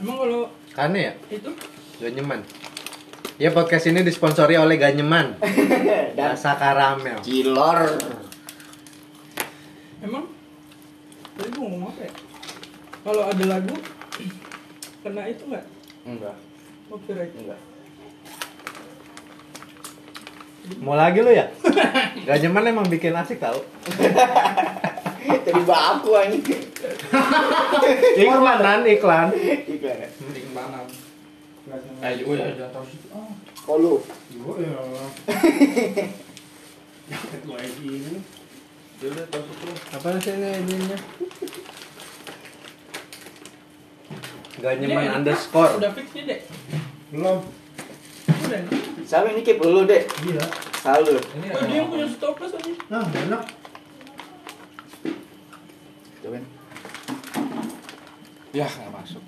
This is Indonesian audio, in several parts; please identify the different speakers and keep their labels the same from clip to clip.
Speaker 1: Emang kalau
Speaker 2: Kane ya?
Speaker 1: itu
Speaker 2: Ganyeman. Ya podcast ini disponsori oleh Ganyeman.
Speaker 3: Dan
Speaker 2: Rasa karamel.
Speaker 3: Cilor.
Speaker 1: emang tadi gua ngomong apa ya? Kalau ada lagu kena itu nggak
Speaker 3: Enggak,
Speaker 1: copyright?
Speaker 3: enggak.
Speaker 2: Mau lagi lu ya? Ganyeman emang bikin asik tau.
Speaker 3: Tadi Eh, aku anjing.
Speaker 2: Iklan, iklan.
Speaker 3: Iklan. ya?
Speaker 4: Mending banget.
Speaker 1: Eh,
Speaker 4: Ayo udah jangan tahu situ. Ah,
Speaker 3: Kok Oh, lu?
Speaker 4: gua ya. Jangan lagi ini. Ya udah tahu situ.
Speaker 2: Apa sih ini ininya? Ganyeman
Speaker 1: Dek,
Speaker 2: underscore.
Speaker 1: Udah fix nih dek.
Speaker 4: Belum.
Speaker 1: Udah.
Speaker 3: Selalu ini keep lu, Dek.
Speaker 4: Gila.
Speaker 3: Selalu.
Speaker 4: Ini
Speaker 1: Oh, dia yang punya stopless aja.
Speaker 4: Nah, enak.
Speaker 3: Cobain.
Speaker 5: Yah, nggak masuk.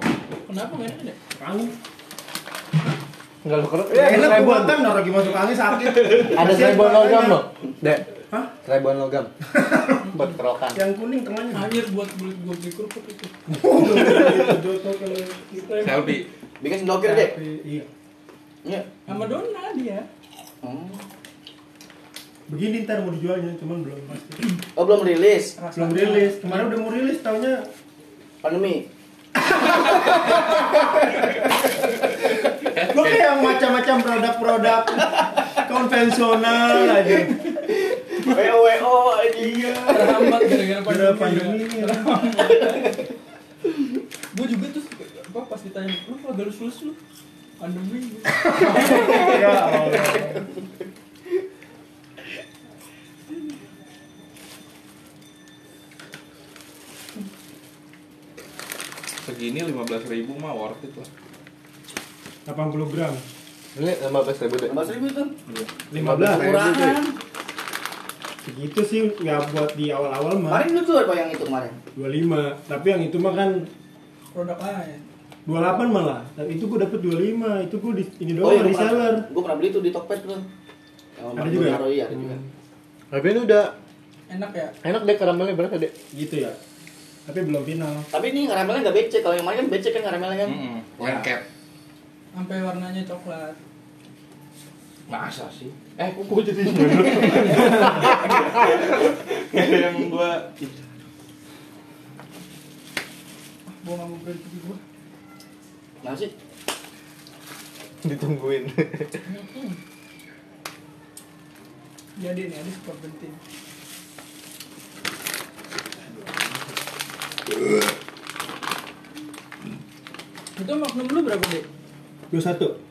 Speaker 1: Kenapa nggak ada dek?
Speaker 4: Kangen.
Speaker 2: Enggak lu kerut.
Speaker 4: Eh, enak gua kan naruh lagi masuk angin sakit.
Speaker 2: Ada
Speaker 4: Kasihan
Speaker 2: trebon
Speaker 4: tangannya.
Speaker 2: logam loh. Dek.
Speaker 4: Hah?
Speaker 2: Trebon logam. Buat kerokan.
Speaker 4: Yang kuning tengahnya.
Speaker 1: Anjir buat buat gue beli kerupuk itu.
Speaker 4: Jodoh kalau kita.
Speaker 5: Selfie.
Speaker 3: Bikin sendokir, Dek.
Speaker 4: Tapi, Iya.
Speaker 3: Iya.
Speaker 1: Sama Donna dia.
Speaker 3: Hmm.
Speaker 4: Begini ntar mau dijualnya, cuman belum pasti.
Speaker 3: Oh, belum rilis.
Speaker 4: Belum rilis. Kemarin udah mau rilis taunya
Speaker 3: Pandemi.
Speaker 4: Lo kayak yang macam-macam produk-produk konvensional aja.
Speaker 3: WO WO
Speaker 4: Iya.
Speaker 3: anjing.
Speaker 1: Terhambat gara-gara
Speaker 4: Pada
Speaker 1: pandemi. kan.
Speaker 4: pandemi ini.
Speaker 1: Gue juga tuh apa pas ditanya lu kagak lulus lulus lu pandemi.
Speaker 4: Ya Allah.
Speaker 5: Segini 15.000 mah worth it lah.
Speaker 4: 80 gram.
Speaker 2: Ini 15 ribu dek.
Speaker 3: 15 ribu tuh.
Speaker 4: 15.
Speaker 3: Murahan.
Speaker 4: Segitu sih nggak buat di awal-awal mah
Speaker 3: Kemarin lu tuh apa yang itu kemarin?
Speaker 4: 25. Tapi yang itu mah kan
Speaker 1: Produk lain.
Speaker 4: 28 malah. Tapi itu gua dapet 25. Itu gua di ini doang
Speaker 3: iya, gua pernah-
Speaker 4: reseller.
Speaker 3: Gua pernah beli tuh di Tokped tuh. Yang
Speaker 4: Ada
Speaker 3: Bang
Speaker 4: juga ya?
Speaker 3: Naro, Iya, ada juga.
Speaker 2: Tapi ini udah
Speaker 1: Enak ya.
Speaker 2: enak dek karamelnya berapa dek?
Speaker 4: Gitu ya. Tapi belum final.
Speaker 3: Tapi ini ngaramelnya nggak becek. Kalau yang kemarin kan becek kan ngaramelnya kan.
Speaker 5: Heeh. cap.
Speaker 1: Sampai warnanya coklat.
Speaker 5: Masa sih? Eh, kok gua jadi yang gua
Speaker 1: Ah, gue nggak mau beli itu gue.
Speaker 3: Nah sih.
Speaker 2: Ditungguin.
Speaker 1: Jadi ini ada sport penting. Itu magnum lu berapa dek?
Speaker 4: 21.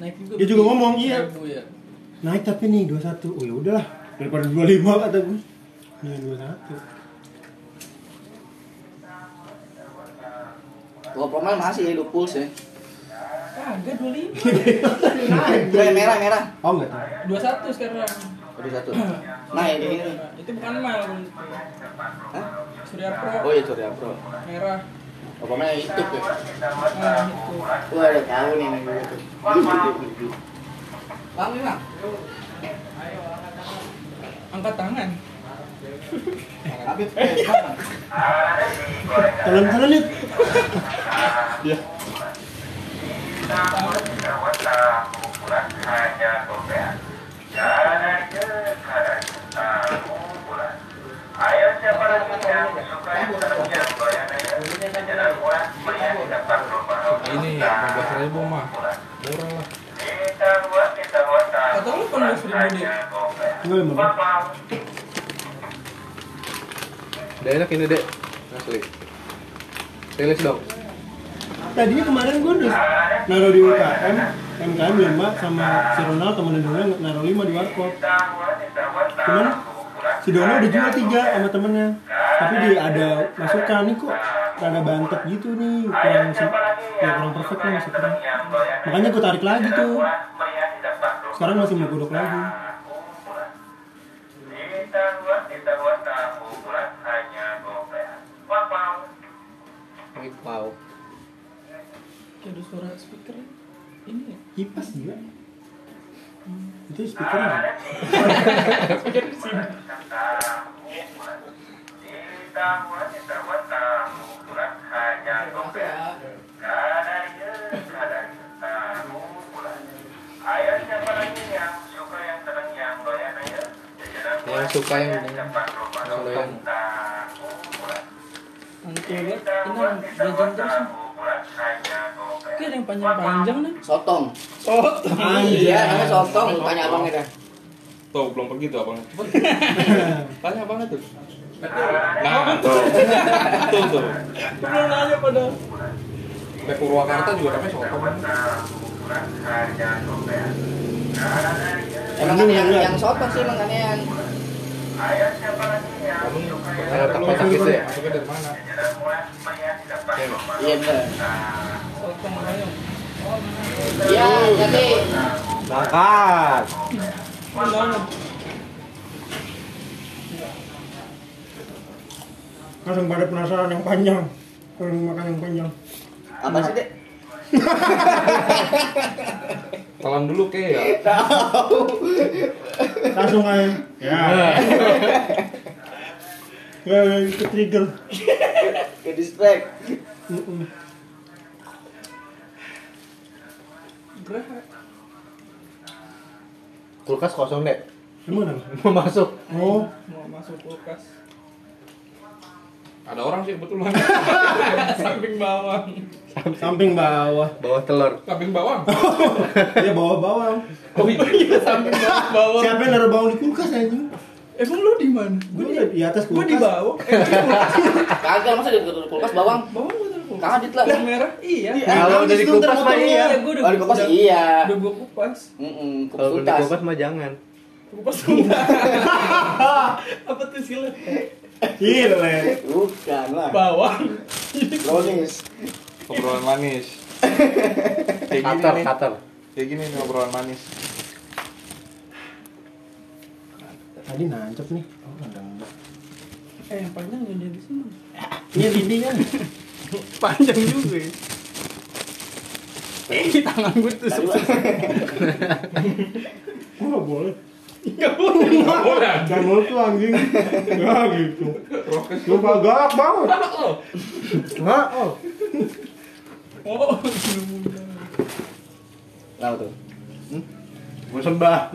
Speaker 1: Naik juga.
Speaker 4: Dia juga ngomong, iya.
Speaker 1: Seribu ya.
Speaker 4: Naik tapi nih 21. Oh ya udahlah. Daripada 25 kata Iya, gua. Nih 21.
Speaker 3: Kalau promel masih ya, hidup puls ya.
Speaker 1: Kagak dua lima.
Speaker 3: Gua yang merah merah.
Speaker 4: Oh enggak tahu.
Speaker 1: Dua satu sekarang.
Speaker 3: Aduh satu. Nah yang ini nih.
Speaker 1: Itu bukan mal.
Speaker 3: Hah?
Speaker 1: Surya Pro
Speaker 3: Oh iya sorry Bro.
Speaker 1: merah.
Speaker 3: Oh promel yang itu ya.
Speaker 1: Nah, itu.
Speaker 3: Gua ada tahu nih yang itu. Bang ini bang.
Speaker 1: Angkat tangan.
Speaker 3: Habib. eh, Bang.
Speaker 4: Tolong tolong lihat.
Speaker 5: ini 15.000 mah. Murah lah.
Speaker 1: Kata lu kan dua ribu dek.
Speaker 4: Enggak lima.
Speaker 2: Udah enak ini dek. Asli. Rilis dong.
Speaker 4: Tadinya kemarin gue udah naruh di UKM, MKM 5 sama si Ronald temen Dona naruh 5 di warkop. Cuman si Dona udah jual 3 sama temennya. Tapi dia ada masukan nih kok rada bantet gitu nih, kurang se- ya kurang perfect lah masih kurang. Makanya gue tarik lagi tuh. Sekarang masih mau godok lagi.
Speaker 2: Wow.
Speaker 1: Kayak ada suara speaker. Ini ya.
Speaker 4: Kipas juga. Itu speaker ya?
Speaker 1: Apa ya?
Speaker 6: Nah, dari
Speaker 2: yang suka yang dengan yang doyan
Speaker 1: Nanti lihat, Nah, gitu ya. ini yang jajan terus. nih. Kayak ada yang panjang-panjang nih.
Speaker 3: Sotong.
Speaker 4: Oh.
Speaker 1: Sot.
Speaker 3: Iya, namanya sotong. Lu Tanya abang ya.
Speaker 7: Tuh, belum pergi tuh abang. Cepet. Tanya abang tuh.
Speaker 2: Oh,
Speaker 7: Nah, tuh. Tuh, tuh.
Speaker 1: Belum nanya pada.
Speaker 2: Sampai Purwakarta juga namanya soto
Speaker 3: Emang kan yang yang sotong sih emang kan yang
Speaker 2: Kamu ada tempat sakit ya? Masuknya dari mana?
Speaker 3: iya bener.
Speaker 1: Sotong ayam.
Speaker 3: Iya, jadi
Speaker 8: Berangkat.
Speaker 1: Benar.
Speaker 4: langsung pada penasaran yang panjang kalau makan yang panjang
Speaker 3: apa sih dek?
Speaker 2: Telan dulu ke ya?
Speaker 4: langsung aja ya ya ke trigger
Speaker 3: Ke distract.
Speaker 4: Mm-mm.
Speaker 1: Gerak.
Speaker 2: Kulkas kosong deh.
Speaker 4: gimana
Speaker 2: Mau masuk.
Speaker 4: oh
Speaker 1: Mau masuk kulkas.
Speaker 7: Ada orang sih kebetulan.
Speaker 1: Samping bawang.
Speaker 4: samping bawah
Speaker 2: Bawah telur.
Speaker 7: Kambing bawang.
Speaker 4: ya bawah bawang
Speaker 1: Oh iya, samping bawang.
Speaker 4: siapa yang naruh bawang di kulkas anjing
Speaker 1: Emang lu di mana?
Speaker 4: gue di atas
Speaker 1: Gue di
Speaker 4: kulkas
Speaker 1: bawah. Eh, di kulkas.
Speaker 3: Kagak masa di kulkas bawang.
Speaker 1: Bawang gue di kulkas.
Speaker 3: Kaget lah.
Speaker 1: Yang merah? Iya.
Speaker 2: Kalau
Speaker 4: habis
Speaker 2: dari
Speaker 4: itu ntar
Speaker 2: kupas mah
Speaker 4: motongnya.
Speaker 1: gue
Speaker 2: iya.
Speaker 3: Oh, di kulkas iya.
Speaker 1: Udah gue kupas.
Speaker 3: Heeh,
Speaker 2: Kalau dari
Speaker 3: kulkas.
Speaker 2: kupas mah jangan.
Speaker 1: Kupas enggak. Apa tuh silet?
Speaker 4: gile
Speaker 3: Bukan lah.
Speaker 1: Bawang.
Speaker 3: Brownies.
Speaker 7: Obrolan manis. Kayak gini
Speaker 2: Kater,
Speaker 7: nih.
Speaker 2: kater.
Speaker 7: Kayak gini nih obrolan manis.
Speaker 4: tadi nancep nih oh ada enggak
Speaker 1: Eh yang panjang yang jadi sini.
Speaker 4: iya ini kan
Speaker 1: Panjang juga. ya. Eh tangan gue tuh
Speaker 3: Tadi Bang.
Speaker 4: oh nggak boleh
Speaker 1: Gak boleh.
Speaker 7: Nggak boleh.
Speaker 4: dan mulut tuh anjing ya gitu
Speaker 7: Rokes.
Speaker 4: lu galak banget nggak oh
Speaker 1: Oh, belum mulai.
Speaker 3: Kenapa tuh?
Speaker 2: Gue sembah.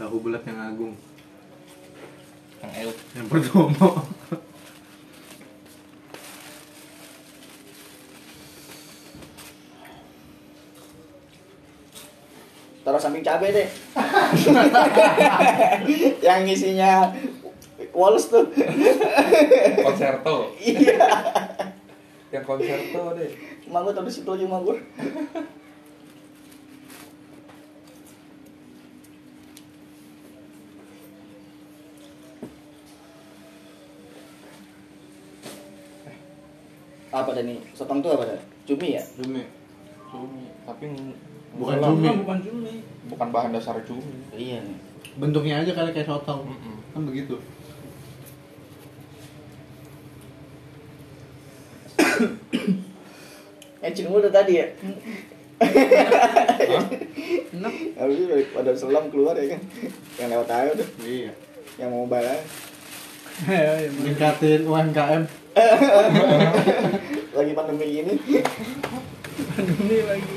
Speaker 2: Tahu bulat yang agung.
Speaker 7: Yang El.
Speaker 2: Yang pertama.
Speaker 3: Taruh samping cabe deh. yang isinya Wallace tuh.
Speaker 7: Konserto.
Speaker 3: Iya.
Speaker 7: Yang konserto deh.
Speaker 3: Emang gue tau di situ aja emang gue. apa dah nih? Sotong tuh apa dah? Cumi ya?
Speaker 7: Cumi. Cumi. Tapi ng-
Speaker 2: Bukan
Speaker 7: ngelam.
Speaker 2: cumi.
Speaker 1: Bukan cumi.
Speaker 7: Bukan bahan dasar cumi.
Speaker 3: Iya nih.
Speaker 2: Bentuknya aja kali kayak sotong. Kan begitu.
Speaker 3: Encing lu udah tadi ya?
Speaker 7: Hah?
Speaker 1: Enak.
Speaker 3: Habis itu dari- pada selam keluar ya kan? Yang lewat air tuh,
Speaker 2: Iya.
Speaker 3: yang mau bayar
Speaker 1: Ya,
Speaker 2: Meningkatin UMKM.
Speaker 3: lagi pandemi gini.
Speaker 1: ini lagi.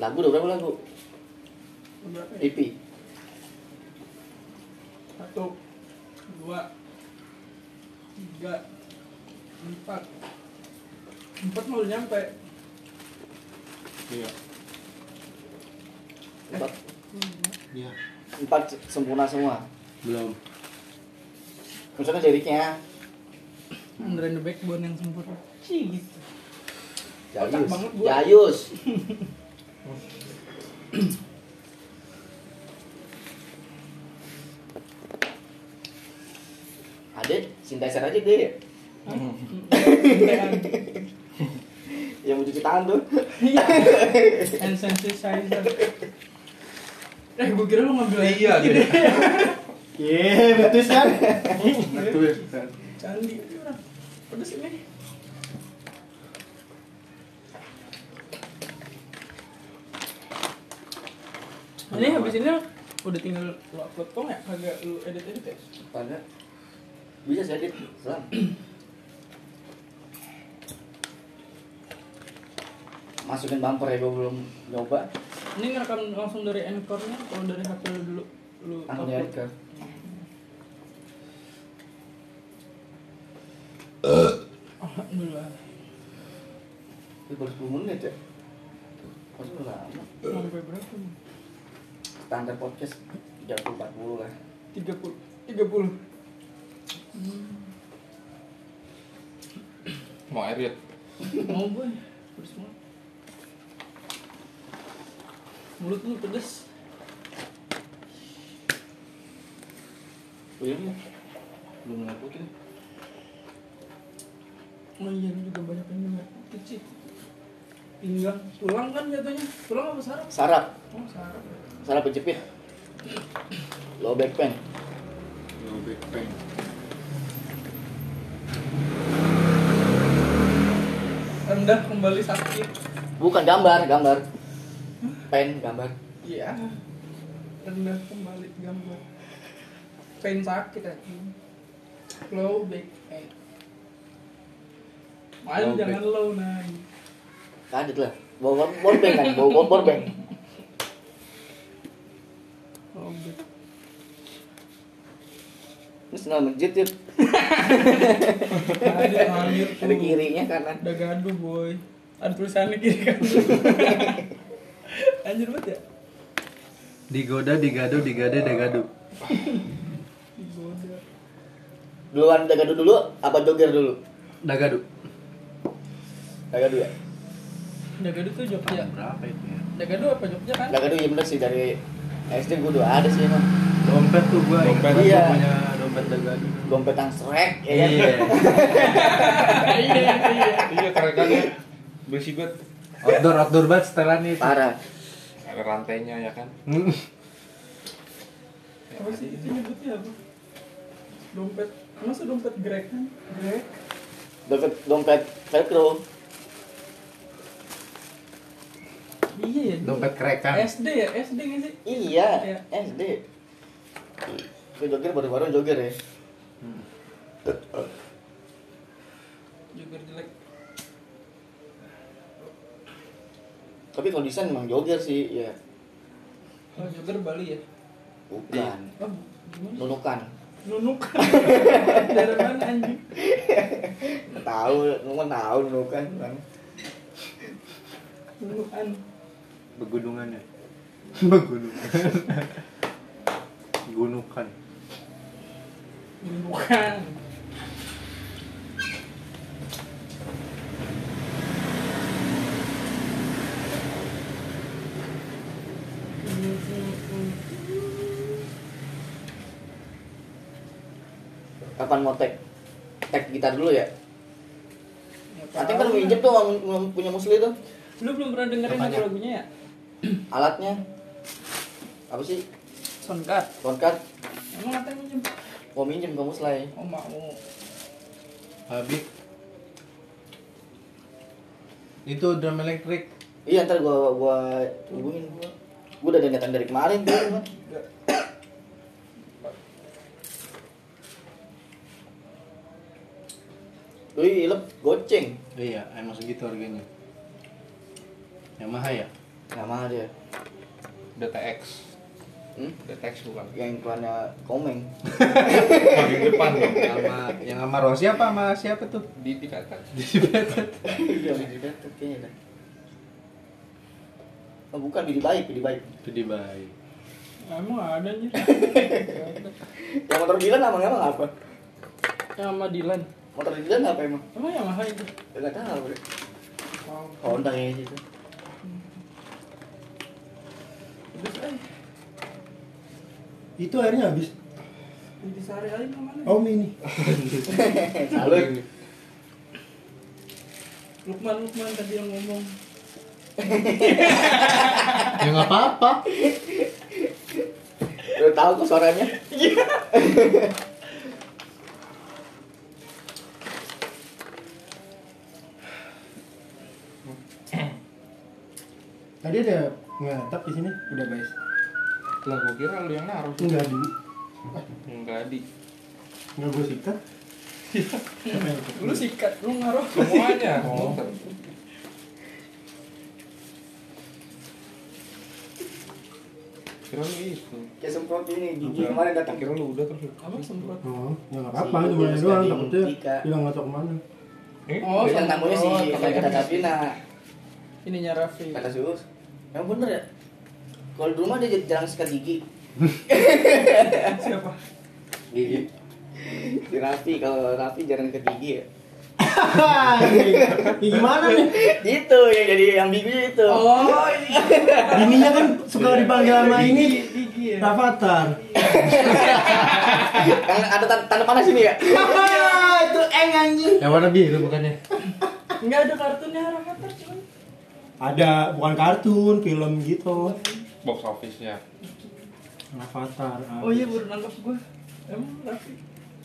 Speaker 3: Lagu udah berapa lagu? E
Speaker 1: Berapa ya?
Speaker 3: EP.
Speaker 1: Satu, dua, tiga, empat. Empat mau nyampe.
Speaker 2: Iya.
Speaker 3: Empat,
Speaker 2: Iya.
Speaker 3: empat sempurna semua.
Speaker 2: Belum.
Speaker 3: Misalnya liriknya.
Speaker 1: Under the Hmm, backbone yang sempurna. Cih gitu. Otak
Speaker 3: Jayus.
Speaker 1: banget gua.
Speaker 3: Jayus. Ada synthesizer aja deh
Speaker 2: Hmm.
Speaker 3: yang mau cuci tangan tuh.
Speaker 1: Iya. Hand sanitizer. Eh, gue kira lu ngambil air
Speaker 7: Iya,
Speaker 1: putih
Speaker 7: deh.
Speaker 1: deh.
Speaker 4: iya betul kan
Speaker 2: Nah, ya.
Speaker 1: Candi. Pedes ini. Ini habis ini udah tinggal lo upload dong ya, kagak lu edit edit ya.
Speaker 3: Ada. Bisa saya edit. Selam. Masukin bumper ya, gue belum nyoba.
Speaker 1: Ini ngerekam langsung dari anchornya kalau dari HP lu dulu lu
Speaker 3: Langsung
Speaker 1: upload.
Speaker 3: diedit ke.
Speaker 1: Alhamdulillah.
Speaker 3: Ini baru 10 menit ya. Pas udah lama.
Speaker 1: Sampai berapa? nih?
Speaker 3: Standar podcast jam 40 lah.
Speaker 1: 30 30.
Speaker 7: Mau air ya?
Speaker 1: Mau gue. Pedes banget. Mulut lu pedes.
Speaker 7: Belum ya? Belum ngikutin.
Speaker 1: Oh iya, lu juga banyak yang nyemir kecil. Pinggang, tulang kan jatuhnya. Tulang apa saraf?
Speaker 3: Sarap,
Speaker 1: Oh, saraf.
Speaker 3: sarap kejepit. Low back pain.
Speaker 7: Lebih pengen.
Speaker 1: Rendah kembali sakit.
Speaker 3: Bukan gambar, gambar. Pain, gambar.
Speaker 1: Iya. Rendah kembali gambar. Pain sakit aja. Low back pain. Main
Speaker 7: Low
Speaker 1: jangan low naik.
Speaker 3: Kadet lah. Bawa kompor bank kan, bawa kompor bank.
Speaker 1: Low back.
Speaker 3: Ini senal masjid ya.
Speaker 1: Ada hamil tuh.
Speaker 3: Ada kirinya kanan.
Speaker 1: Ada gaduh boy. Ada tulisannya kiri kan. Anjir banget ya.
Speaker 2: Digoda, digado, digade, degado.
Speaker 1: Digoda.
Speaker 3: Duluan dagadu dulu, apa joger dulu?
Speaker 2: Dagado.
Speaker 3: Dagadu ya?
Speaker 1: Dagadu tuh Jogja.
Speaker 2: Berapa itu ya?
Speaker 1: Dagadu apa Jogja kan?
Speaker 3: Dagadu iya bener sih, dari SD gue udah ada sih emang
Speaker 2: Dompet tuh gua.
Speaker 7: Dompet.
Speaker 2: ingat gua
Speaker 3: Iya.
Speaker 2: punya dompet dagado.
Speaker 3: Dompet yang srek ya kan?
Speaker 2: Iya.
Speaker 1: Iya, iya.
Speaker 7: Iya, karena kan ya. Bersih banget.
Speaker 2: Outdoor outdoor banget setelannya itu.
Speaker 3: Parah
Speaker 7: Ada rantainya ya kan.
Speaker 2: Hmm.
Speaker 1: apa sih itu nyebutnya apa dompet masa dompet grek kan grek
Speaker 3: Dompet, dompet velcro
Speaker 1: iya ya dulu.
Speaker 2: Dompet kan? kerekan.
Speaker 1: SD ya SD nggak sih Iya.
Speaker 3: Iya, SD Gue joger baru-baru joger ya
Speaker 1: juga jelek
Speaker 3: Tapi kalau desain emang joger sih, ya
Speaker 1: oh jogger Bali ya
Speaker 3: Bukan
Speaker 1: oh gimana
Speaker 3: Nunukan
Speaker 1: nunuk dari mana anjing
Speaker 3: Tahu, nunukan tahu nunukan kan. Bang.
Speaker 1: nunukan
Speaker 2: Begunungan ya. Begunungan. Gunukan.
Speaker 1: nunukan
Speaker 3: Kapan mau tag? Tag gitar dulu ya?
Speaker 1: Ya,
Speaker 3: Nanti
Speaker 1: tahu
Speaker 3: kan
Speaker 1: lah.
Speaker 3: minjem tuh sama- sama punya musli tuh
Speaker 1: Lu belum pernah dengerin
Speaker 2: Apanya?
Speaker 1: lagu lagunya ya?
Speaker 3: Alatnya Apa sih?
Speaker 1: Sonkat
Speaker 3: Soundcard
Speaker 1: Emang katanya minjem?
Speaker 3: Mau minjem ke Muslay
Speaker 1: Oh mau
Speaker 2: Habis. Itu drum elektrik.
Speaker 3: Iya ntar gua gua hubungin gua. Gua udah ada niatan dari kemarin tuh. Bang. Wih, ilep goceng.
Speaker 2: Iya, emang segitu harganya. Yamaha ya?
Speaker 3: Nggak mahal dia.
Speaker 7: DTX.
Speaker 3: Hmm?
Speaker 7: DTX bukan.
Speaker 3: Yang iklannya komeng.
Speaker 7: Paling depan dong.
Speaker 2: Sama yang sama Rosi apa sama siapa tuh?
Speaker 7: Di di kata.
Speaker 3: Iya, biji betet kayaknya dah. Oh, bukan biji baik, biji baik.
Speaker 2: Itu di bayi.
Speaker 1: Emang ada anjir
Speaker 3: Yang motor Dilan emang emang apa?
Speaker 1: Yang sama Dilan
Speaker 3: Motor Dilan apa emang?
Speaker 1: Emang Yamaha itu?
Speaker 3: Enggak tahu. deh.
Speaker 1: Wow.
Speaker 3: Honda kayaknya itu.
Speaker 1: Terus eh,
Speaker 4: Itu airnya habis.
Speaker 1: di sehari hari mana?
Speaker 4: Om Oh, ini.
Speaker 3: Salut.
Speaker 1: Lukman Lukman tadi yang ngomong.
Speaker 2: Ya nggak apa-apa.
Speaker 3: Udah tahu kok suaranya.
Speaker 4: Tadi ada ngetap di sini udah guys.
Speaker 7: Lah gua kira lu yang naruh.
Speaker 4: Enggak di,
Speaker 7: Enggak di.
Speaker 4: enggak gue sikat.
Speaker 1: Iya. Lu sikat, lu ngaruh.
Speaker 7: Semuanya.
Speaker 2: Oh.
Speaker 7: Kira lu itu.
Speaker 9: Kayak semprot ini
Speaker 3: Iya,
Speaker 9: gigi kemarin datang.
Speaker 7: Kira lu udah terus.
Speaker 1: Apa semprot?
Speaker 4: Oh, ya nggak apa-apa, cuma ini doang takutnya hilang nggak tahu kemana.
Speaker 7: Eh?
Speaker 1: Oh,
Speaker 3: Bintang
Speaker 1: sama-
Speaker 3: tamunya
Speaker 1: oh,
Speaker 3: si
Speaker 1: temennya
Speaker 3: kata Davina
Speaker 1: Ininya Raffi.
Speaker 3: Kata Suus Emang bener ya? Kalau di rumah dia jarang sikat gigi
Speaker 1: Siapa?
Speaker 3: Gigi Di Raffi, kalau Raffi jarang sikat gigi ya
Speaker 4: Ini Ya, gimana nih?
Speaker 3: Gitu ya jadi ambigunya itu
Speaker 1: Oh, iya.
Speaker 4: Bininya kan suka dipanggil sama ini
Speaker 1: Gigi ya.
Speaker 4: Rafathar.
Speaker 3: Yang ada tan- tanda panas ini
Speaker 1: Iya.
Speaker 3: ya?
Speaker 4: Hahaha, itu eng anjing.
Speaker 2: Yang warna biru bukannya?
Speaker 1: Enggak ada kartunnya Rafathar cuman.
Speaker 4: Ada bukan kartun, film gitu.
Speaker 7: Box office-nya.
Speaker 4: Rafathar.
Speaker 1: Oh iya baru nangkap gua. Emang Raffi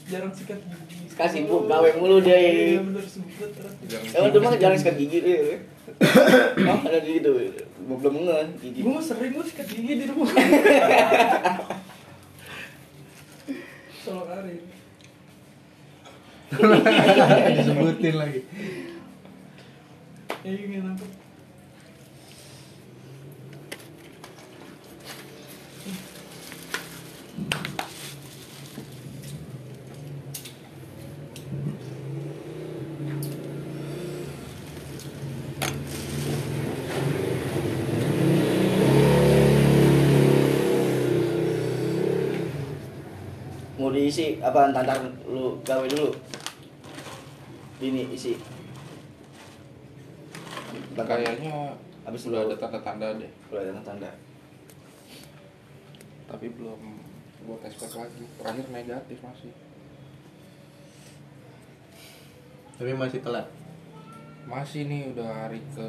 Speaker 1: jarang sikat gigi.
Speaker 3: Sekarang sibuk, gawe mulu dia.
Speaker 1: Iya bener sibuk Raffi.
Speaker 3: Emang di rumah kan jarang sikat gigi eh. Emang ada gigi tuh Belum belum nge gigi
Speaker 1: Gua mah sering gua sikat gigi di rumah. Solo karir.
Speaker 2: Disebutin lagi.
Speaker 1: Ya ini nangkep.
Speaker 3: Mau diisi, apa ntar lu gawe dulu Ini isi Bentar.
Speaker 7: Kayaknya
Speaker 3: Habis
Speaker 7: udah
Speaker 3: dulu.
Speaker 7: ada tanda-tanda deh.
Speaker 3: Udah ada tanda
Speaker 7: Tapi belum gua tes pack lagi. Terakhir negatif masih.
Speaker 2: Tapi masih telat.
Speaker 7: Masih nih udah hari ke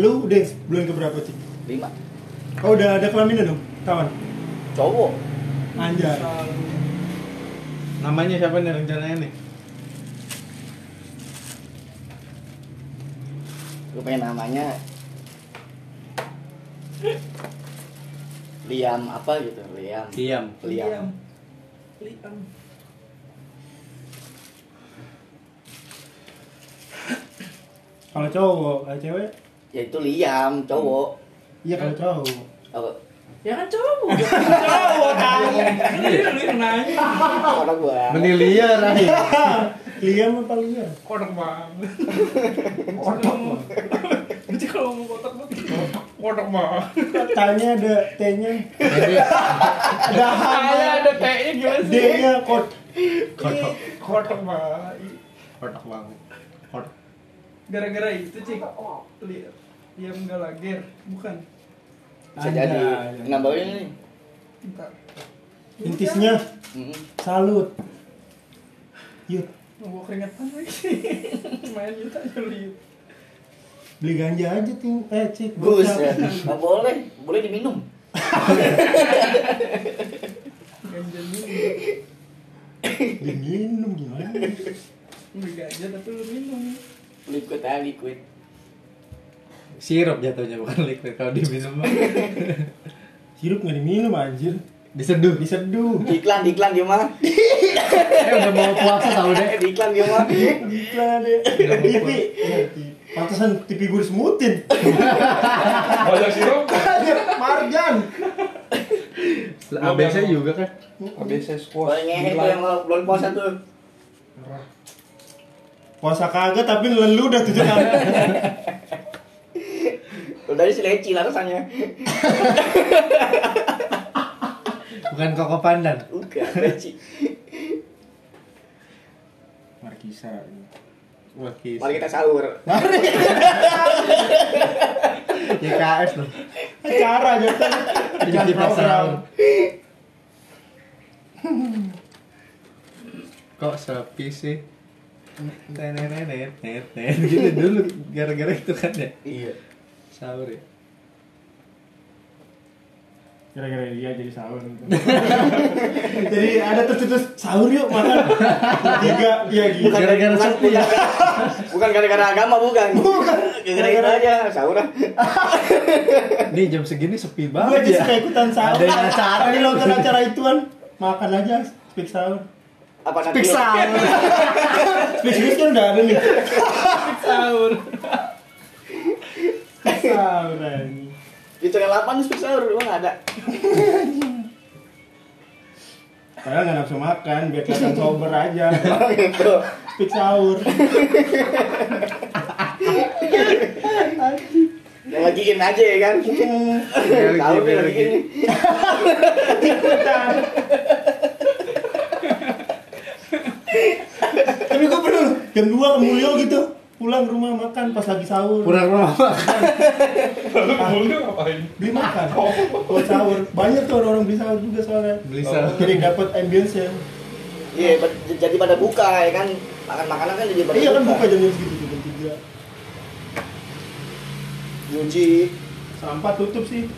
Speaker 4: Lu udah bulan keberapa sih?
Speaker 3: Lima
Speaker 4: Oh udah ada kelaminnya dong, kawan.
Speaker 3: Cowok
Speaker 4: Anjay.
Speaker 1: Selalu.
Speaker 2: Namanya siapa nih rencananya nih?
Speaker 3: Gue pengen namanya Liam apa gitu Liam
Speaker 2: Diam.
Speaker 3: Liam
Speaker 1: Liam. Liam.
Speaker 4: Kalau cowok, kalau cewek,
Speaker 3: Ya itu Liam cowok
Speaker 4: iya kalau cowok.
Speaker 3: Apa?
Speaker 1: Ya kan cowok. Cowok tahu. Ini Eh, lu yang nanya.
Speaker 3: Orang gua
Speaker 2: Meniliar aja.
Speaker 4: Liam apa liar?
Speaker 1: Kotak banget. Kotak. Jadi kalau mau kotak banget. Kotak banget.
Speaker 4: Tanya ada T-nya,
Speaker 2: Jadi
Speaker 4: ada
Speaker 1: Kayak
Speaker 4: H-nya,
Speaker 1: ada kayaknya gimana sih?
Speaker 4: D-nya kot.
Speaker 2: kotak
Speaker 1: Kotak banget.
Speaker 2: kotak banget. Kotak.
Speaker 1: Gara-gara itu cik. Lihat. Liam Gallagher. Bukan.
Speaker 3: Bisa jadi
Speaker 4: Anjay.
Speaker 3: Nambahin nih
Speaker 1: Bentar.
Speaker 4: Intisnya
Speaker 3: Mm-mm.
Speaker 4: salut. Yuk,
Speaker 1: Nunggu keringetan lagi. Main juta aja lu yuk.
Speaker 4: beli ganja aja ting. Eh, cik.
Speaker 3: Gus
Speaker 4: bocah.
Speaker 3: ya Nggak boleh Boleh diminum
Speaker 1: Ganja minum.
Speaker 4: Diminum gimana?
Speaker 1: Beli ganja tapi lu minum.
Speaker 3: Liquid aja liquid
Speaker 2: Sirup jatuhnya bukan liquid kalau diminum mah.
Speaker 4: Sirup nggak diminum anjir.
Speaker 2: diseduh.
Speaker 4: Diseduh.
Speaker 3: Di iklan di iklan gimana?
Speaker 2: Eh udah mau puasa tau deh.
Speaker 3: Di iklan gimana?
Speaker 4: Iklan deh. Tipi. Iya, Pantesan tipi gue disemutin. Iya,
Speaker 7: Banyak sirup.
Speaker 4: Marjan.
Speaker 2: ABC juga kan.
Speaker 7: ABC squash.
Speaker 3: Boleh ngehe tuh yang kalau bulan puasa tuh
Speaker 4: Puasa kagak tapi lelu dah tujuh kali.
Speaker 3: Udah sih leci lah rasanya
Speaker 2: Bukan koko pandan.
Speaker 3: Bukan leci
Speaker 4: Markisa.
Speaker 2: Wakis.
Speaker 3: Mari kita sahur
Speaker 2: YKS loh.
Speaker 4: Acara aja. Acara
Speaker 2: Jadi
Speaker 4: program.
Speaker 2: penasaran. Kok sepi sih? Tenenenet, nenet, gitu dulu gara-gara itu kan ya
Speaker 3: Iya
Speaker 2: sahur ya.
Speaker 1: Kira-kira dia jadi sahur.
Speaker 4: gitu. Jadi ada tercetus sahur yuk makan. Tiga ya gitu.
Speaker 3: Bukan
Speaker 2: Gara-gara
Speaker 3: bukan-
Speaker 2: sakti ya.
Speaker 3: Bukan gara-gara agama bukan. Bukan. Gara-gara itu aja.
Speaker 9: sahur ah.
Speaker 2: Nih jam segini sepi
Speaker 4: Gue
Speaker 2: banget
Speaker 4: aja
Speaker 2: ya.
Speaker 4: suka ikutan sahur.
Speaker 2: Ada yang acara.
Speaker 4: Tadi nonton acara ituan makan aja speak sahur.
Speaker 3: Apa nanti?
Speaker 2: Speak sound.
Speaker 4: Speak English kan udah ada nih.
Speaker 1: Sahur.
Speaker 4: Speak sahur anjing.
Speaker 3: Di channel 8 speak sahur emang ada.
Speaker 4: Padahal nggak nafsu makan, biar kelihatan sober aja.
Speaker 9: Oh, gitu.
Speaker 4: Speak sahur.
Speaker 3: Yang lagiin aja ya kan. Tahu nih lagi ini.
Speaker 4: Tapi gue pernah loh, jam 2 ke Mulyo gitu pulang ke rumah makan pas lagi sahur
Speaker 2: Kurang lama.
Speaker 1: Lalu mulutnya ngapain?
Speaker 4: beli makan buat sahur banyak tuh orang, -orang beli sahur juga soalnya
Speaker 2: Beli sahur.
Speaker 4: jadi dapat ambience ya
Speaker 3: Iya, bet- jadi pada buka ya kan. Makan makanan kan jadi pada
Speaker 4: iya kan buka jam segitu tuh, jam tiga
Speaker 3: Nyuci.
Speaker 4: sampah tutup sih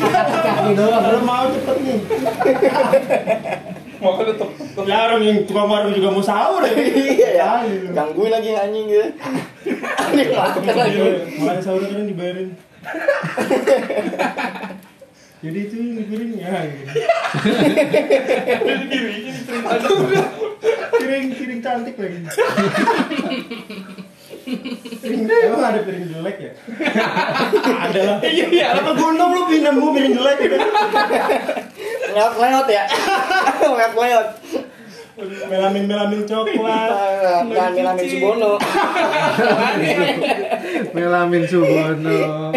Speaker 2: Kaki doang.
Speaker 4: kalau mau cepet nih
Speaker 1: Makan tetep.
Speaker 4: ya orang yang tukang warung juga mau sahur ya
Speaker 3: Iya ya.
Speaker 4: Ayo.
Speaker 3: Gangguin lagi anjing gitu. Anjing makan lagi.
Speaker 4: Iya, makan sahur kan dibayarin jadi itu mikirin ya gitu.
Speaker 1: Jadi gini, ini ceritanya.
Speaker 4: piring piring cantik lagi piring emang ada piring jelek ya ada lah
Speaker 1: Iya, iya.
Speaker 4: apa gondong lu pindah gua piring jelek gitu
Speaker 3: Lewat lewat ya. Lewat lewat.
Speaker 4: melamin melamin coklat
Speaker 3: Bukan Milamin Subono.
Speaker 2: Melamin Subono.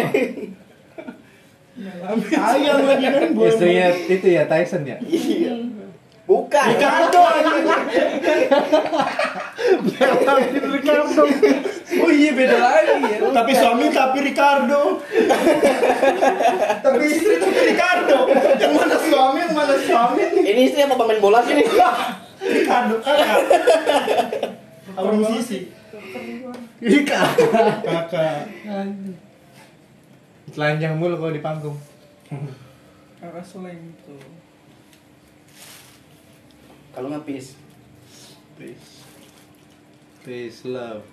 Speaker 4: ayam lagi kan buat
Speaker 2: Istrinya itu ya Tyson ya.
Speaker 3: Iya. Bukan.
Speaker 4: Ricardo anjing.
Speaker 2: Melamin Ricardo. Oh iya beda lagi ya.
Speaker 4: tapi suami tapi Ricardo tapi istri tapi Ricardo yang mana suami yang mana suami
Speaker 3: Ini istri apa pemain bola sih nih?
Speaker 4: Ricardo kakak apa musisi
Speaker 2: Ricardo.
Speaker 4: kakak
Speaker 2: Telanjang mulu kalau di panggung.
Speaker 1: Arah selain itu.
Speaker 3: Kalau ngepis
Speaker 2: Peace love.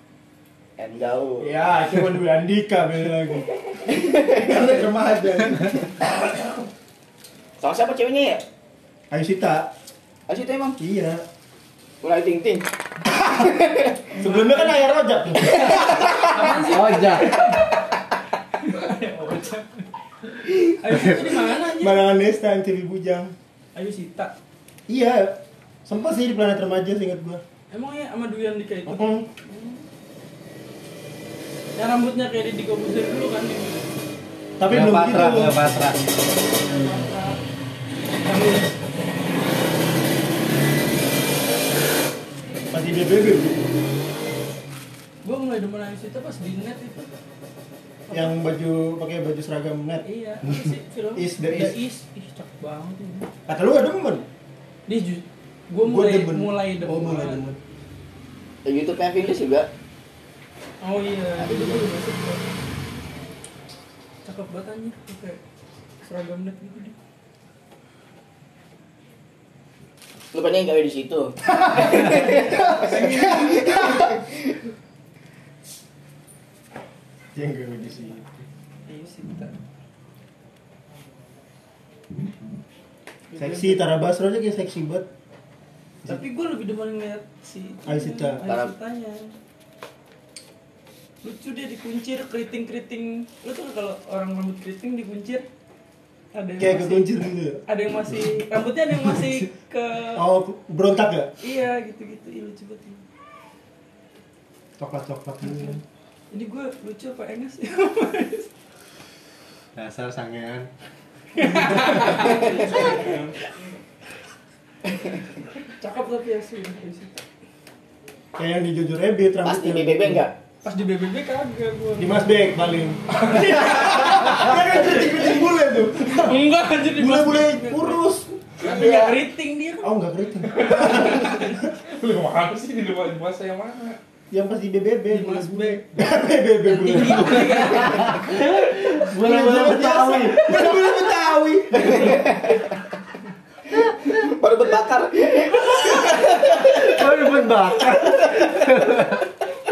Speaker 3: and gaul.
Speaker 4: Ya, cuma Dwi Andika beda lagi. Karena remaja.
Speaker 3: Sama siapa ceweknya ya?
Speaker 4: Ayo Sita.
Speaker 3: Ah situ emang
Speaker 4: Iya.
Speaker 3: mulai ting ting.
Speaker 4: Sebelumnya kan Ayah Rojak.
Speaker 2: Ojak.
Speaker 1: Ayo, ini mana anjing?
Speaker 4: Barangan Desta MTV Bujang.
Speaker 1: Ayo Sita.
Speaker 4: Iya. Sempat sih di planet remaja seingat gua.
Speaker 1: Emang ya sama Dwi Andika itu?
Speaker 4: Mm-mm.
Speaker 1: Yang rambutnya kayak di komputer dulu kan? yang-
Speaker 4: Tapi belum
Speaker 2: Patra,
Speaker 4: gitu.
Speaker 2: Patra.
Speaker 4: Masih BBB.
Speaker 1: Gue mulai demen Ayu Sita pas di net itu.
Speaker 4: Yang baju pakai baju seragam net.
Speaker 1: Iya, apa sih film?
Speaker 4: Is the
Speaker 1: The
Speaker 4: is.
Speaker 1: Is. Ih, cakep banget ini.
Speaker 4: Kata lu gak demen?
Speaker 1: Dia ju gue
Speaker 4: Gua
Speaker 1: mulai mulai demen.
Speaker 4: Oh, mulai demen.
Speaker 3: Di YouTube yang English juga.
Speaker 1: Oh iya, itu dulu masuk gua. Cakep banget anjir, pakai seragam net gitu dia.
Speaker 3: Lu pengen gawe di situ.
Speaker 4: Yang gue di sini.
Speaker 1: Ayu Sita.
Speaker 4: Seksi Tara Basro aja kayak seksi banget.
Speaker 1: Tapi gue lebih demen ngeliat si
Speaker 4: Ayu Sita.
Speaker 1: Ayu Sitanya. Lucu dia dikuncir keriting-keriting. Lu tuh kalau orang rambut keriting dikuncir ada yang
Speaker 4: Kayak
Speaker 1: masih
Speaker 4: kekuncir gitu.
Speaker 1: ada yang masih rambutnya ada yang masih ke
Speaker 4: Oh, berontak gak?
Speaker 1: iya gitu-gitu Ih, lucu banget ini.
Speaker 4: Coklat-coklat
Speaker 1: Iya.
Speaker 4: gitu.
Speaker 1: Ini gue lucu apa enges sih?
Speaker 2: Dasar sangean.
Speaker 1: Cakep tapi ya sih Ayu Sita.
Speaker 4: Kayak yang di Jojo Rabbit
Speaker 3: Pas di
Speaker 4: rambutnya.
Speaker 3: BBB enggak?
Speaker 1: Pas di BBB kagak gue.
Speaker 4: Di Mas Bek paling. Kan kan keriting-keriting bule tuh.
Speaker 1: Enggak anjir di Mas
Speaker 4: Bule-bule
Speaker 1: Bek.
Speaker 4: kurus.
Speaker 1: Tapi nggak keriting dia kan.
Speaker 4: Oh, enggak keriting.
Speaker 1: Lu kemana sih di rumah rumah saya mana?
Speaker 4: yang pas di BBB bulan
Speaker 1: Mas B.
Speaker 4: BBB bulan bulan bulan Betawi bulan bulan Betawi
Speaker 9: Baru berbakar.
Speaker 2: Baru buat bakar.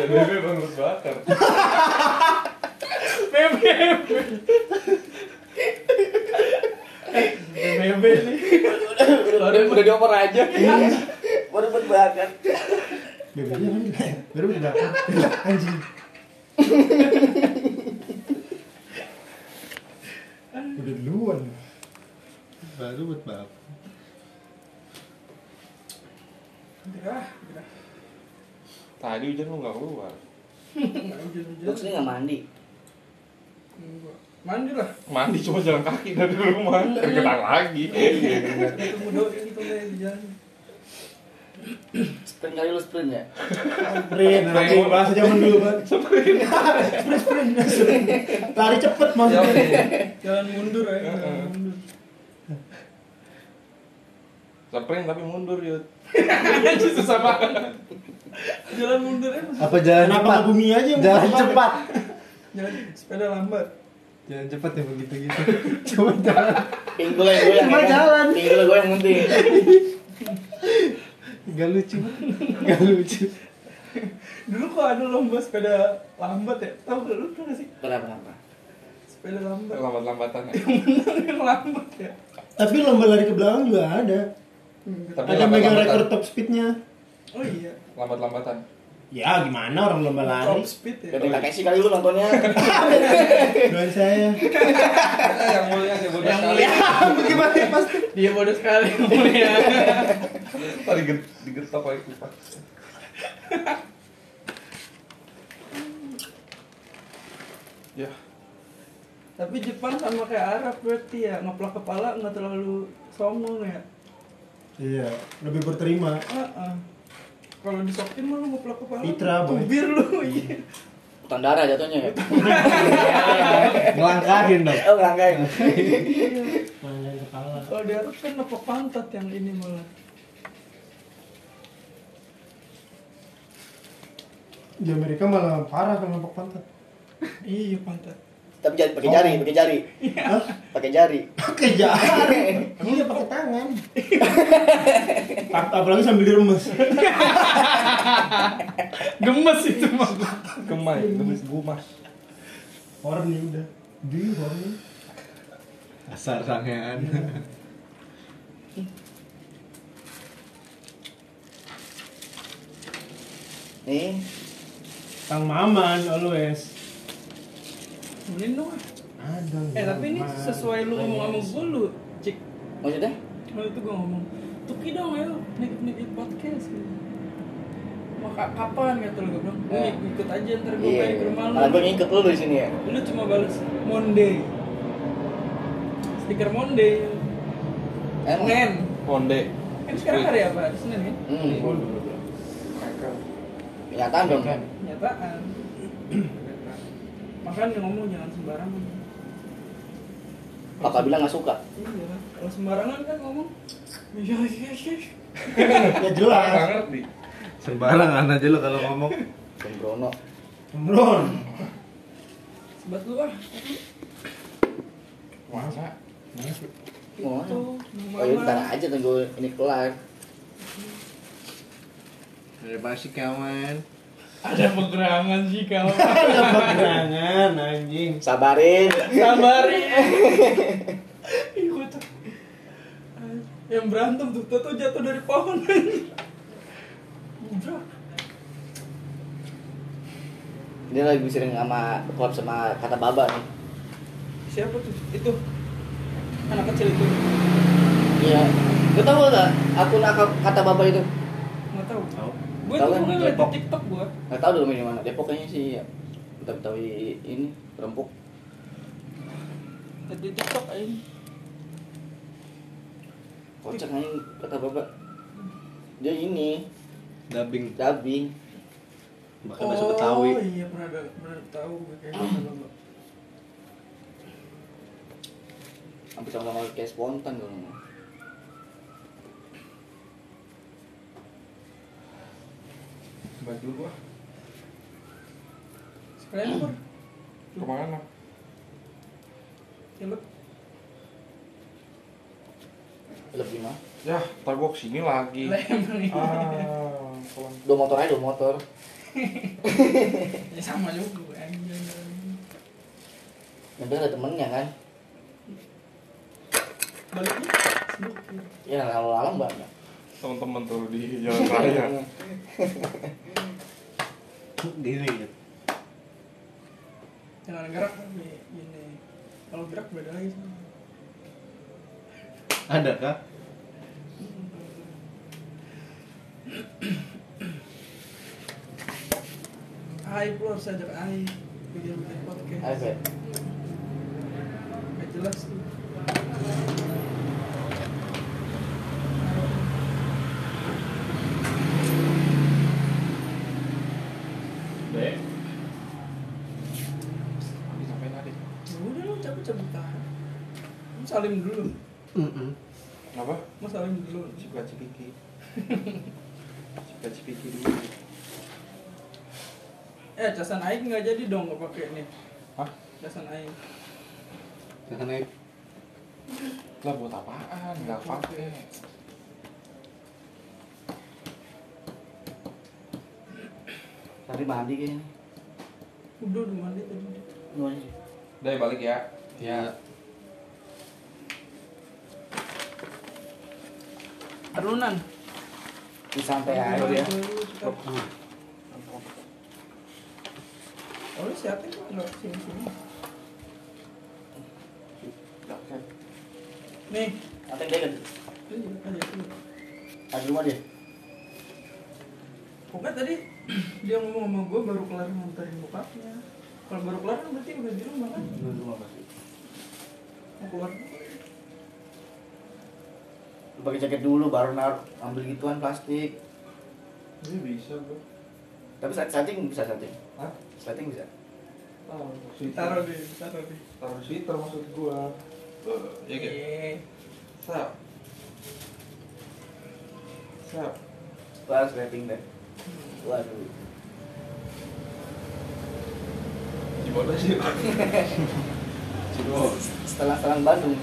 Speaker 7: BBB bang harus bakar.
Speaker 1: BBB nih.
Speaker 9: Udah udah dioper aja. Baru berbakar.
Speaker 4: BBB apa ya? baru udah anjing udah duluan
Speaker 2: Baru buat bakar.
Speaker 1: Gerah, gerah.
Speaker 7: Tadi hujan lu nggak keluar.
Speaker 1: Nggak hujan-hujan.
Speaker 3: Lu kesini nggak mandi?
Speaker 1: Gua Mandi lah.
Speaker 7: Mandi cuma jalan kaki dari rumah. Kena lagi.
Speaker 1: Itu mudah gitu deh di jalan.
Speaker 3: Sprint kali lu sprint ya?
Speaker 4: sprint anjing bahasa zaman dulu kan sprint sprint sprint lari cepet maksudnya
Speaker 7: Iya.
Speaker 1: Jalan mundur ya. Jalan
Speaker 7: Heeh.
Speaker 1: mundur.
Speaker 7: Sprint tapi mundur yuk. Susah banget.
Speaker 1: Jalan mundur ya.
Speaker 2: Apa jalan
Speaker 4: kenapa
Speaker 2: cepat?
Speaker 4: nggak bumi aja yang
Speaker 2: Jalan
Speaker 4: bumi?
Speaker 2: cepat.
Speaker 1: Jalan sepeda lambat.
Speaker 2: Jalan cepat ya begitu gitu. Coba jalan.
Speaker 3: Pinggul yang gue yang
Speaker 2: Cuma
Speaker 3: ngomong.
Speaker 2: jalan.
Speaker 3: Pinggul gue yang penting.
Speaker 2: Gak lucu. Gak lucu.
Speaker 1: Dulu kok ada lomba sepeda lambat ya? Tahu nggak lu tuh nggak sih?
Speaker 3: Kenapa kenapa?
Speaker 1: Sepeda lambat.
Speaker 7: Lambat-lambatan ya.
Speaker 1: Yang lambat ya.
Speaker 4: tapi lomba lari ke belakang juga ada
Speaker 7: Tapi
Speaker 4: ada mega
Speaker 7: lambat-lambatan.
Speaker 4: record top speednya
Speaker 1: Oh iya.
Speaker 7: Lambat-lambatan.
Speaker 4: ya gimana orang lomba
Speaker 1: Top
Speaker 4: lari
Speaker 1: speed ya.
Speaker 3: Ganti Takeshi kali lu nontonnya.
Speaker 4: doain saya
Speaker 7: Yang mulia yang bodoh sekali.
Speaker 4: gimana pasti
Speaker 1: Dia bodoh sekali mulia.
Speaker 7: Tadi get- digetok lagi kupas. Ya,
Speaker 1: Tapi Jepang sama kayak Arab berarti ya ngeplak kepala nggak terlalu sombong ya.
Speaker 4: iya lebih berterima
Speaker 1: Heeh. Kalau disokin mah lu ngeplak kepala.
Speaker 4: Fitra, boy.
Speaker 1: Tubir lu iya.
Speaker 3: Hutan darah jatuhnya ya?
Speaker 2: Ngelangkahin dong.
Speaker 3: Oh ngerangkai.
Speaker 4: Manjain kepala
Speaker 1: iya. Kalau di Arab kan nepok pantat yang ini malah.
Speaker 4: di Amerika malah parah kalau nampak pantat
Speaker 1: Iya pantat.
Speaker 3: Tapi jangan pakai jari, pakai jari.
Speaker 4: Hah?
Speaker 3: Pakai jari.
Speaker 4: pakai jari iya pakai tangan Ap- apalagi sambil diremes
Speaker 1: Gemes itu mah.
Speaker 7: gemai, gemes gumas.
Speaker 4: horn nih udah di horn nih
Speaker 2: Asar sangean.
Speaker 3: Nih,
Speaker 4: Kang Maman always
Speaker 1: Ini dong. ah.
Speaker 4: ada
Speaker 1: Eh tapi ini sesuai lu ngomong sama gue lu cik.
Speaker 3: maksudnya?
Speaker 1: Waktu itu gue ngomong Tuki dong ayo nikit-nikit podcast gitu. Mau ka- kapan kata lu gue bilang "Lu
Speaker 3: Nah.
Speaker 1: ik- ikut aja ntar gue
Speaker 3: Iya.
Speaker 1: balik ke rumah
Speaker 3: Malah gue
Speaker 1: lu
Speaker 3: ngikut lu di sini ya.
Speaker 1: Lu cuma balas Monday Stiker Monday
Speaker 3: Emang.
Speaker 1: Senin
Speaker 7: Konde.
Speaker 1: Kan sekarang hari apa? Senin ya?
Speaker 3: Hmm. Kenyataan dong.
Speaker 1: Kenyataan Makanya ngomong jangan sembarangan
Speaker 3: Papa bilang nggak suka.
Speaker 1: Iya, kalau sembarangan kan ngomong Iya, iya, iya
Speaker 4: ya jelas
Speaker 7: Nggak ngerti.
Speaker 2: Sembarangan aja lo kalau ngomong.
Speaker 3: Sembrono.
Speaker 4: Imron
Speaker 1: Sebat lu ah
Speaker 7: Masa?
Speaker 3: Gimana?
Speaker 1: Tuh,
Speaker 3: Oh iya, ntar aja tunggu ini kelar.
Speaker 2: Dari ya, pasti kawan.
Speaker 1: Ada pegerangan sih kalau
Speaker 4: ada pegangan anjing
Speaker 3: Sabarin.
Speaker 1: Sabarin. Ih, kocak. Yang berantem tuh, tuh jatuh dari pohon. Udah.
Speaker 3: Dia lagi sering sama klub sama kata baba nih.
Speaker 1: Siapa tuh? Itu. Anak kecil itu.
Speaker 3: Iya. Gue tau gak akun ak- kata baba itu?
Speaker 1: Nggak tahu.
Speaker 2: Tahu.
Speaker 1: Gue
Speaker 3: Tahu
Speaker 1: tuh
Speaker 3: kan,
Speaker 1: ngeliat di
Speaker 3: Depok.
Speaker 1: TikTok gue.
Speaker 3: Gak tau dong ini mana. Depok kayaknya sih ya. Betawi ini rempuk.
Speaker 1: Di TikTok aja.
Speaker 3: Kocak aja kata baba. Dia ini
Speaker 2: Dubbing.
Speaker 3: dubbing.
Speaker 2: Bahkan bahasa Betawi.
Speaker 1: Oh iya pernah ada- pernah tahu gue kayak gitu, kata baba.
Speaker 3: Hampir sama-sama kayak spontan dong.
Speaker 7: Baju gua.
Speaker 1: Kalian pun
Speaker 7: Kemana?
Speaker 1: Jelek
Speaker 3: lebih mah
Speaker 7: Yah, Ya, ntar gua kesini
Speaker 2: Iya.
Speaker 7: lagi.
Speaker 1: Lah emang ini
Speaker 7: Ah, pulang.
Speaker 3: dua motor aja dua motor
Speaker 1: Ya sama juga gue anjing.
Speaker 3: yang penting ada temennya kan
Speaker 1: Baliknya sibuk
Speaker 3: ya kalau lalang banget
Speaker 7: Teman-teman tuh di jalan raya.
Speaker 2: Gini gitu.
Speaker 1: Jangan gerak kan, kayak gini Kalau gerak beda lagi sama
Speaker 2: Ada kah?
Speaker 1: Ai, lu harus ajak Ai Bikin-bikin podcast
Speaker 3: ayo Fe.
Speaker 1: Gak jelas tuh
Speaker 7: Ini sampein adik.
Speaker 1: Ya udah lu cabut-cabutan Lu salim dulu
Speaker 7: Kenapa?
Speaker 1: Lu salim dulu
Speaker 7: Suka cipiki. Suka cipiki dulu.
Speaker 1: Eh, casan Ai nggak jadi dong gak pakai nih
Speaker 7: Hah?
Speaker 1: Casan Ai
Speaker 6: Jangan naik.
Speaker 7: Lah buat apaan? Gak pakai.
Speaker 3: tapi mandi kayaknya
Speaker 1: Udah, udah mandi tadi
Speaker 3: Lu aja.
Speaker 7: Dai balik ya. Ya.
Speaker 1: Arunan
Speaker 3: di santai aja ya
Speaker 1: Oh, lu siapa kok nggak sini-sini Nih,
Speaker 3: santai dia kan
Speaker 1: lu juga aja sini.
Speaker 3: ada rumah dia
Speaker 1: Pokoknya tadi dia ngomong sama gue baru kelar nganterin bokapnya Kalau baru kelar kan berarti udah di rumah kan
Speaker 3: di rumah pasti
Speaker 1: Mau keluar
Speaker 3: lu pakai jaket dulu baru nar ambil gituan plastik
Speaker 7: Ini Iya, bisa bro.
Speaker 3: tapi saat setting bisa setting
Speaker 7: Hah?
Speaker 3: setting bisa
Speaker 7: Taruh
Speaker 1: Taruh deh, taruh deh
Speaker 7: Taruh sweater maksud gua. Eh, ya kayak.
Speaker 1: Iya.
Speaker 7: Sap. Sap.
Speaker 3: Wah, setting deh waduh
Speaker 7: Gimana sih? Cido.
Speaker 3: setelah selang Bandung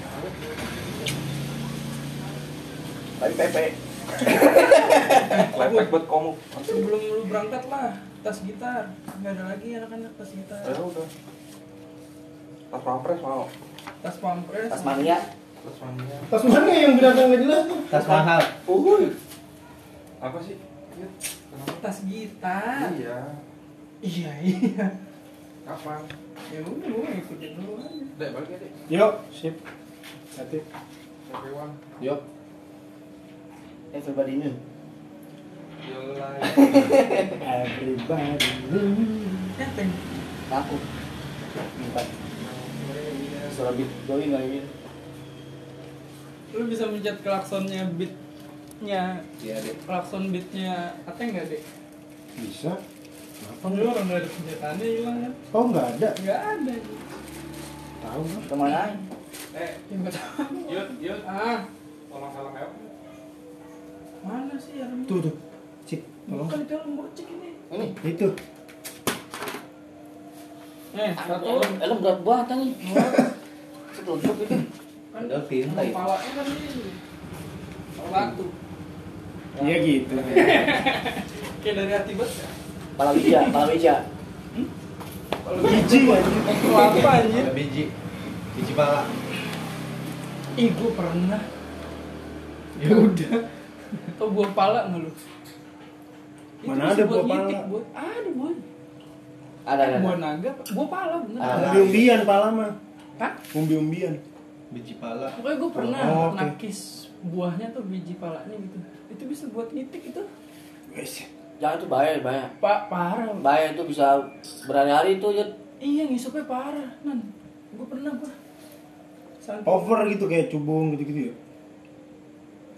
Speaker 3: tapi Pepe
Speaker 7: Lepek buat kamu.
Speaker 1: Sebelum lu berangkat lah, tas gitar. Nggak ada lagi anak-anak tas gitar.
Speaker 7: Ya udah. Tas pampres mau.
Speaker 1: Tas pampres.
Speaker 3: pas mania
Speaker 7: Tas mania.
Speaker 4: Tas mana ya yang binatang nggak jelas tuh?
Speaker 2: Tas mahal.
Speaker 7: Uhuy. Apa sih? Iya. Kenapa?
Speaker 1: Tas gitar.
Speaker 7: Iya.
Speaker 1: Iya, iya.
Speaker 7: Kapan?
Speaker 1: Ya udah, gua ngikutin dulu aja.
Speaker 7: Dek balik ya dek.
Speaker 4: Yuk, sip. Satu.
Speaker 7: Sampai uang.
Speaker 6: Yuk.
Speaker 3: everybody new
Speaker 7: Jelai.
Speaker 4: Everybody.
Speaker 1: Eh, teng.
Speaker 3: aku empat suara beat going kali ini
Speaker 1: Lu bisa mencet klaksonnya beatnya
Speaker 6: Iya deh.
Speaker 1: klakson beatnya Ateng nggak deh?
Speaker 4: Bisa.
Speaker 1: Lu orang nggak ada senjataannya hilang kan?
Speaker 4: Oh nggak ada.
Speaker 1: Nggak ada.
Speaker 4: Tahu kan?
Speaker 3: kemana
Speaker 7: Eh,
Speaker 1: Ya nggak tahu.
Speaker 7: yud, yud.
Speaker 1: Ah,
Speaker 7: Tolong salam ya.
Speaker 1: mana sih ya?
Speaker 4: Tuh tuh. Cik. Tolong.
Speaker 1: Bukan di dalam bocek ini.
Speaker 3: ini
Speaker 4: Itu.
Speaker 1: Eh,
Speaker 3: satu
Speaker 1: satu.
Speaker 3: elem berat banget nih setelunjuk itu
Speaker 1: Kan
Speaker 2: Ada tinta itu.
Speaker 1: Kepalanya kan ini. Batu.
Speaker 4: Iya gitu.
Speaker 1: Kayak dari hati banget ya?
Speaker 3: palawija palawija
Speaker 1: Kalau
Speaker 4: Biji
Speaker 1: ya?
Speaker 4: aja.
Speaker 1: Itu apa anjir?
Speaker 2: Ada biji. Biji pala.
Speaker 1: Ih, gue pernah.
Speaker 4: Ya udah.
Speaker 1: Tau buah pala nggak lu? Itu
Speaker 4: Mana
Speaker 1: bisa
Speaker 4: ada
Speaker 1: buat
Speaker 4: buah pala?
Speaker 1: nyitik, buat- Ada buah.
Speaker 3: ada ada
Speaker 1: Buah
Speaker 3: ada.
Speaker 1: naga, apa? buah pala bener.
Speaker 3: Ada.
Speaker 4: Umbi-umbian pala mah.
Speaker 1: Hah?
Speaker 4: Umbi-umbian.
Speaker 2: Biji pala.
Speaker 1: Pokoknya gue pernah
Speaker 4: Oh, oke.
Speaker 1: nakis buahnya tuh biji palanya gitu. Itu bisa buat nitik itu.
Speaker 4: Wes.
Speaker 3: jangan itu bahaya bahaya
Speaker 1: Pak parah.
Speaker 3: bahaya itu bisa berhari-hari itu ya
Speaker 1: Iya ngisupnya parah. Nan, gue pernah gue.
Speaker 4: Over gitu kayak cubung gitu-gitu ya.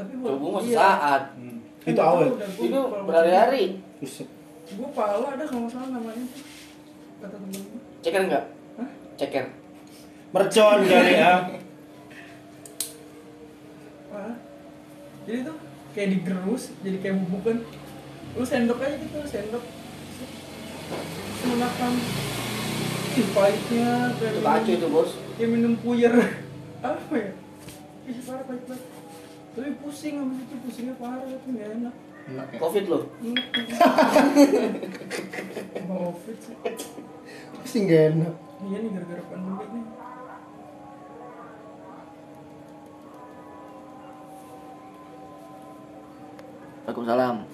Speaker 1: Tapi buat
Speaker 3: tubuh mah
Speaker 1: iya.
Speaker 3: sesaat
Speaker 4: Hmm. Itu awet.
Speaker 1: Udah, gua
Speaker 3: itu
Speaker 1: kalau-
Speaker 3: berhari-hari
Speaker 4: Buset.
Speaker 1: Gue pala ada kalau nggak salah namanya tuh. Kata temen gue.
Speaker 3: ceker enggak
Speaker 1: Hah?
Speaker 3: ceker
Speaker 4: Mercon kali ya.
Speaker 1: Parah. Jadi tuh kayak digerus, jadi kayak bubuk kan. Lu sendok aja gitu, sendok. Menakan. Ih, pahitnya kayak
Speaker 3: Itu
Speaker 1: minum-
Speaker 3: kacau itu bos.
Speaker 1: kayak minum puyer apa ya ih parah pahit banget tapi pusing sama itu pusingnya parah itu nggak enak
Speaker 2: Enak ya?
Speaker 3: Covid loh.
Speaker 1: mau fit sih
Speaker 4: Pasti nggak enak.
Speaker 1: iya nih gara-gara pandemi nih
Speaker 3: Waalaikumsalam.